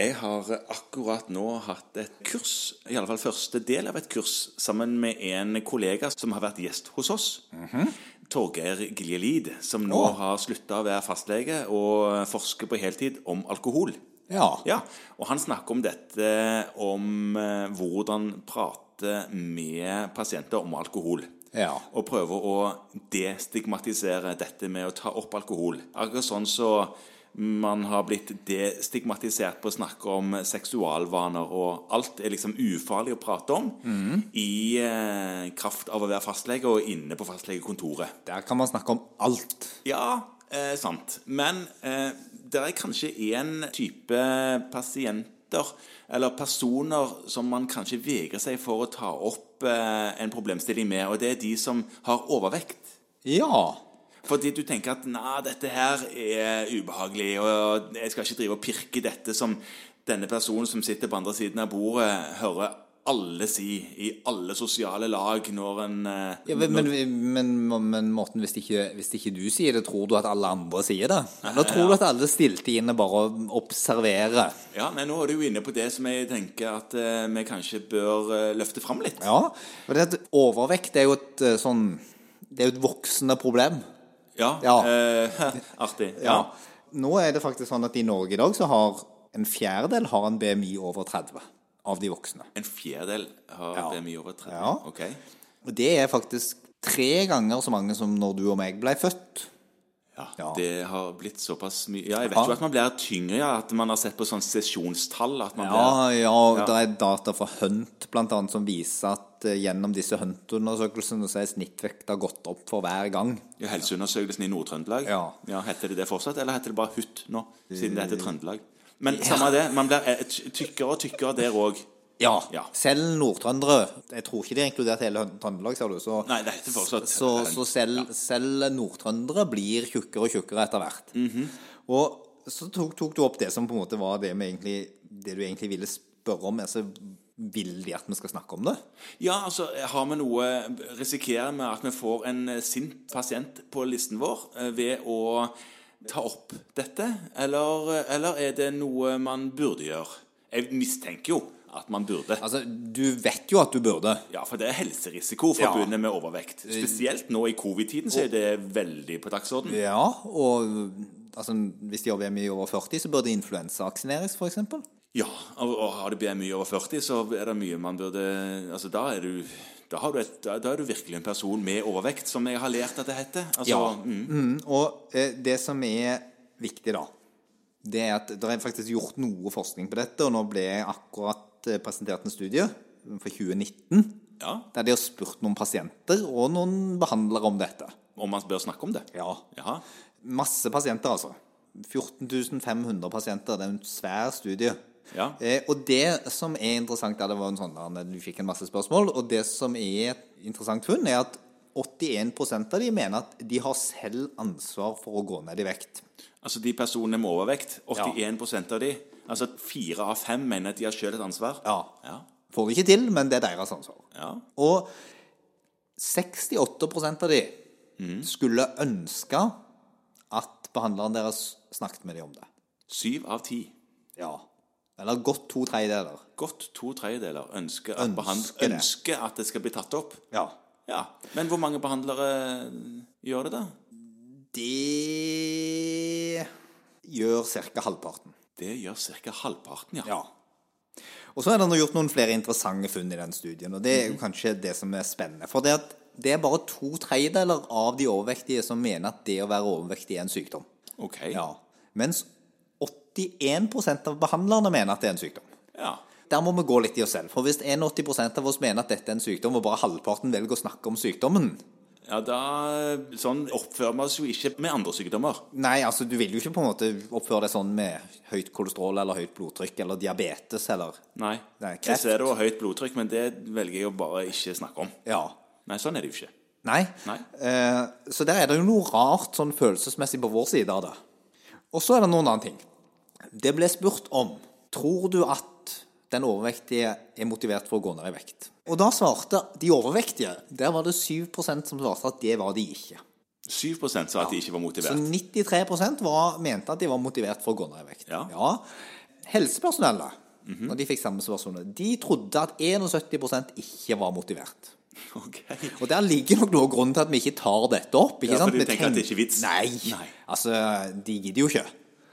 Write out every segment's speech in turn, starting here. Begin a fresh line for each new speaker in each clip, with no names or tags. Jeg har akkurat nå hatt et kurs, i alle fall første del av et kurs, sammen med en kollega som har vært gjest hos oss. Torgeir Giljelid, som nå
Å.
har slutta å være fastlege og forsker på heltid om alkohol.
Ja.
Ja, og han snakker om dette om eh, hvordan prate med pasienter om alkohol.
Ja.
Og prøve å destigmatisere dette med å ta opp alkohol. Akkurat sånn så man har blitt destigmatisert på å snakke om seksualvaner, og alt er liksom ufarlig å prate om i eh, kraft av å være fastlege og inne på fastlegekontoret.
Der kan man snakke om alt.
Ja, eh, sant. Men eh, det er kanskje én type pasienter eller personer som man kanskje vegrer seg for å ta opp eh, en problemstilling med, og det er de som har overvekt.
Ja.
Fordi du tenker at nei, dette her er ubehagelig, og jeg skal ikke drive og pirke i dette som denne personen som sitter på andre siden av bordet, hører alle si i alle sosiale lag når en eh,
Ja, men, men, men, men Morten, hvis ikke, hvis ikke du sier det, tror du at alle andre sier det? Eller tror du at alle stilltiende bare observerer?
Ja, nei, Nå er du jo inne på det som jeg tenker at eh, vi kanskje bør eh, løfte fram litt.
Ja. For det at overvekt er jo et eh, sånn Det er jo et voksende problem.
Ja.
Ja.
eh, artig. Ja.
Ja. Nå er det faktisk sånn at i Norge i dag så har en fjerdedel har en BMI over 30 av de voksne.
En fjerdedel har
Ja.
BMI over 30.
Ja.
Ok.
Og det er faktisk tre ganger så mange som når du og meg ble født.
Ja,
Ja.
Det har blitt såpass mye Ja, jeg vet
Ja.
jo at man blir tyngre, ja. At man har sett på sånn sesjonstall at man blir
Ja, ja, og det er data fra Hunt blant annet som viser at eh, gjennom disse Hunt-undersøkelsene så er snittvekta gått opp for hver gang.
ja, Helseundersøkelsen i Nord-Trøndelag.
Ja.
Heter det det fortsatt, eller heter det bare HUT nå, siden det heter Trøndelag? Men samme det, man blir eh, ty- tykkere og tykkere der òg.
Ja.
Ja.
Selv nord-trøndere Jeg tror ikke de har inkludert hele Hun- Trøndelag, ser du. Så,
Nei, det heter fortsatt
så, så selv, selv nord-trøndere blir tjukkere og tjukkere etter hvert. Og så tok, tok du opp det som på en måte var det, med egentlig, det du egentlig ville spørre om. Altså, vil de at vi skal snakke om det?
Ja, altså, har vi noe Risikerer vi at vi får en eh, sint pasient på listen vår eh, ved å ta opp dette? Eller, eh, eller er det noe man burde gjøre? Jeg mistenker jo at man burde.
Altså, du vet jo at du burde.
Ja, for det er helserisiko forbundet med overvekt. Spesielt nå i covid-tiden så er det veldig på dagsordenen.
Ja, og altså, hvis de har BMI over 40, så burde influensavaksineres, f.eks.
Ja, og, og har du BMI over 40, så er det mye man burde Altså, da er du da, har du et, da, da er du virkelig en person med overvekt, som jeg har lært at det heter. Altså,
Ja.
mm,
Mm, og eh, det som er viktig, da, det er at det er faktisk gjort noe forskning på dette, og nå ble jeg akkurat eh, presentert en studie for 2019
ja,
der de har spurt noen pasienter og noen behandlere om dette.
om man bør snakke om det.
Ja.
Jaha.
Masse pasienter, altså. 14 500 pasienter. Det er en svær studie.
Ja.
Eh, og det som er interessant der, det var en sånn der, Du fikk en masse spørsmål. Og det som er et interessant funn, er at 81 av de mener at de har selv ansvar for å gå ned i vekt.
Altså de personene med overvekt, 81 av de, altså fire av fem mener at de har sjøl et ansvar.
Ja.
Ja.
Får det ikke til, men det er deres ansvar.
ja.
Og 68 av de skulle ønske at behandleren deres snakket med dem om det.
Syv av ti,
Ja. Eller godt to tredjedeler.
godt to tredjedeler, ønsker at,
Ønsker
behand-
det.
ønsker at det skal bli tatt opp.
Ja.
Ja. Men hvor mange behandlere eh, gjør det, da?
Det gjør ca. halvparten.
Det gjør ca. halvparten, ja.
Og så er det nå gjort noen flere interessante funn i den studien, og det er jo kanskje det som er spennende. For det, at det er bare to tredjedeler av de overvektige som mener at det å være overvektig er en sykdom.
Ok.
Ja. Mens 81 av behandlerne mener at det er en sykdom.
Ja.
Der må vi gå litt i oss selv. For hvis 81 av oss mener at dette er en sykdom, og bare halvparten velger å snakke om sykdommen,
Ja, da Sånn oppfører vi oss jo ikke med andre sykdommer.
Nei, altså du vil jo ikke på en måte oppføre deg sånn med høyt kolesterol eller høyt blodtrykk eller diabetes eller
Nei.
Nei,
Jeg
kreft.
ser du har høyt blodtrykk, men det velger jeg å bare ikke snakke om.
Ja.
Nei, sånn er det jo ikke.
Nei.
Nei.
Eh, så der er det jo noe rart sånn følelsesmessig på vår side av det. Og så er det noen annen ting. Det ble spurt om Tror du at den overvektige er motivert for å gå ned i vekt? Og da svarte de overvektige Der var det 7 som svarte at det var de ikke.
7 sa at de ikke var
Så
motivert.
93 var, mente at de var motivert for å gå ned i vekt.
Ja. Mhm.
helsepersonellet, når de fikk samme spørsmål, de trodde at 71 ikke var motivert.
Ok.
Og der ligger nok noe av grunnen til at vi ikke tar dette opp. ikke
Ja, for
sant?
de
Vi
tenker at det er ikke vits.
Nei.
Nei.
Altså, de gidder jo ikke.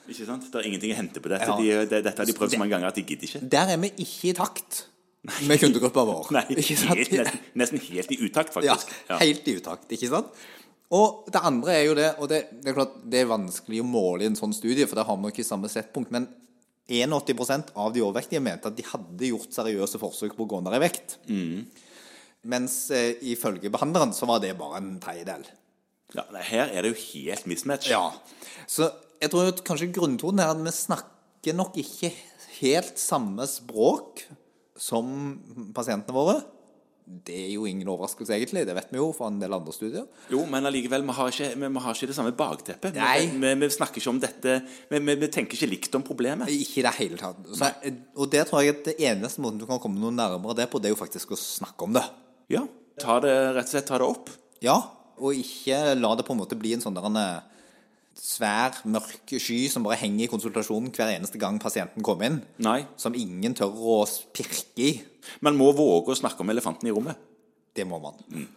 Ikke sant? Det er ingenting å hente på dette.
Ja.
De, det, dette har de prøvd så mange ganger at de gidder ikke.
Der er vi ikke i takt med kundegruppa vår.
Nei,
ikke sant?
helt, nesten, nesten helt i utakt,
Ja,
faktisk. Ja.
helt i utakt, ikke sant? Og det andre er jo det, og det, det er klart det er vanskelig å måle i en sånn studie, for der har vi jo ikke samme settpunkt, men 81 av de overvektige mente at de hadde gjort seriøse forsøk på å gå ned i vekt.
Mm.
Mens eh, ifølge behandleren så var det bare en tredjedel.
Ja, nei, her er det jo helt mismatch.
Ja. Så jeg tror at kanskje grunntonen er at vi snakker nok ikke helt samme språk som pasientene våre. Det er jo ingen overraskelse, egentlig. Det vet vi jo fra en del andre studier.
Jo, men allikevel, vi har ikke, vi, vi har ikke det samme bakteppet. Vi-
Nei.
Vi, vi snakker ikke om dette Vi, vi, vi tenker ikke likt om problemet.
Ikke i det hele tatt. Så, og det tror jeg at det eneste måten du kan komme noe nærmere det på, det er jo faktisk å snakke om det.
Ja. Ta det, rett og slett ta det opp.
Ja, og ikke la det på en måte bli en sånn der en eh, svær, mørk sky som bare henger i konsultasjonen hver eneste gang pasienten kommer inn.
Nei.
Som ingen tør å pirke i.
Man må våge å snakke om elefanten i rommet.
Det må man.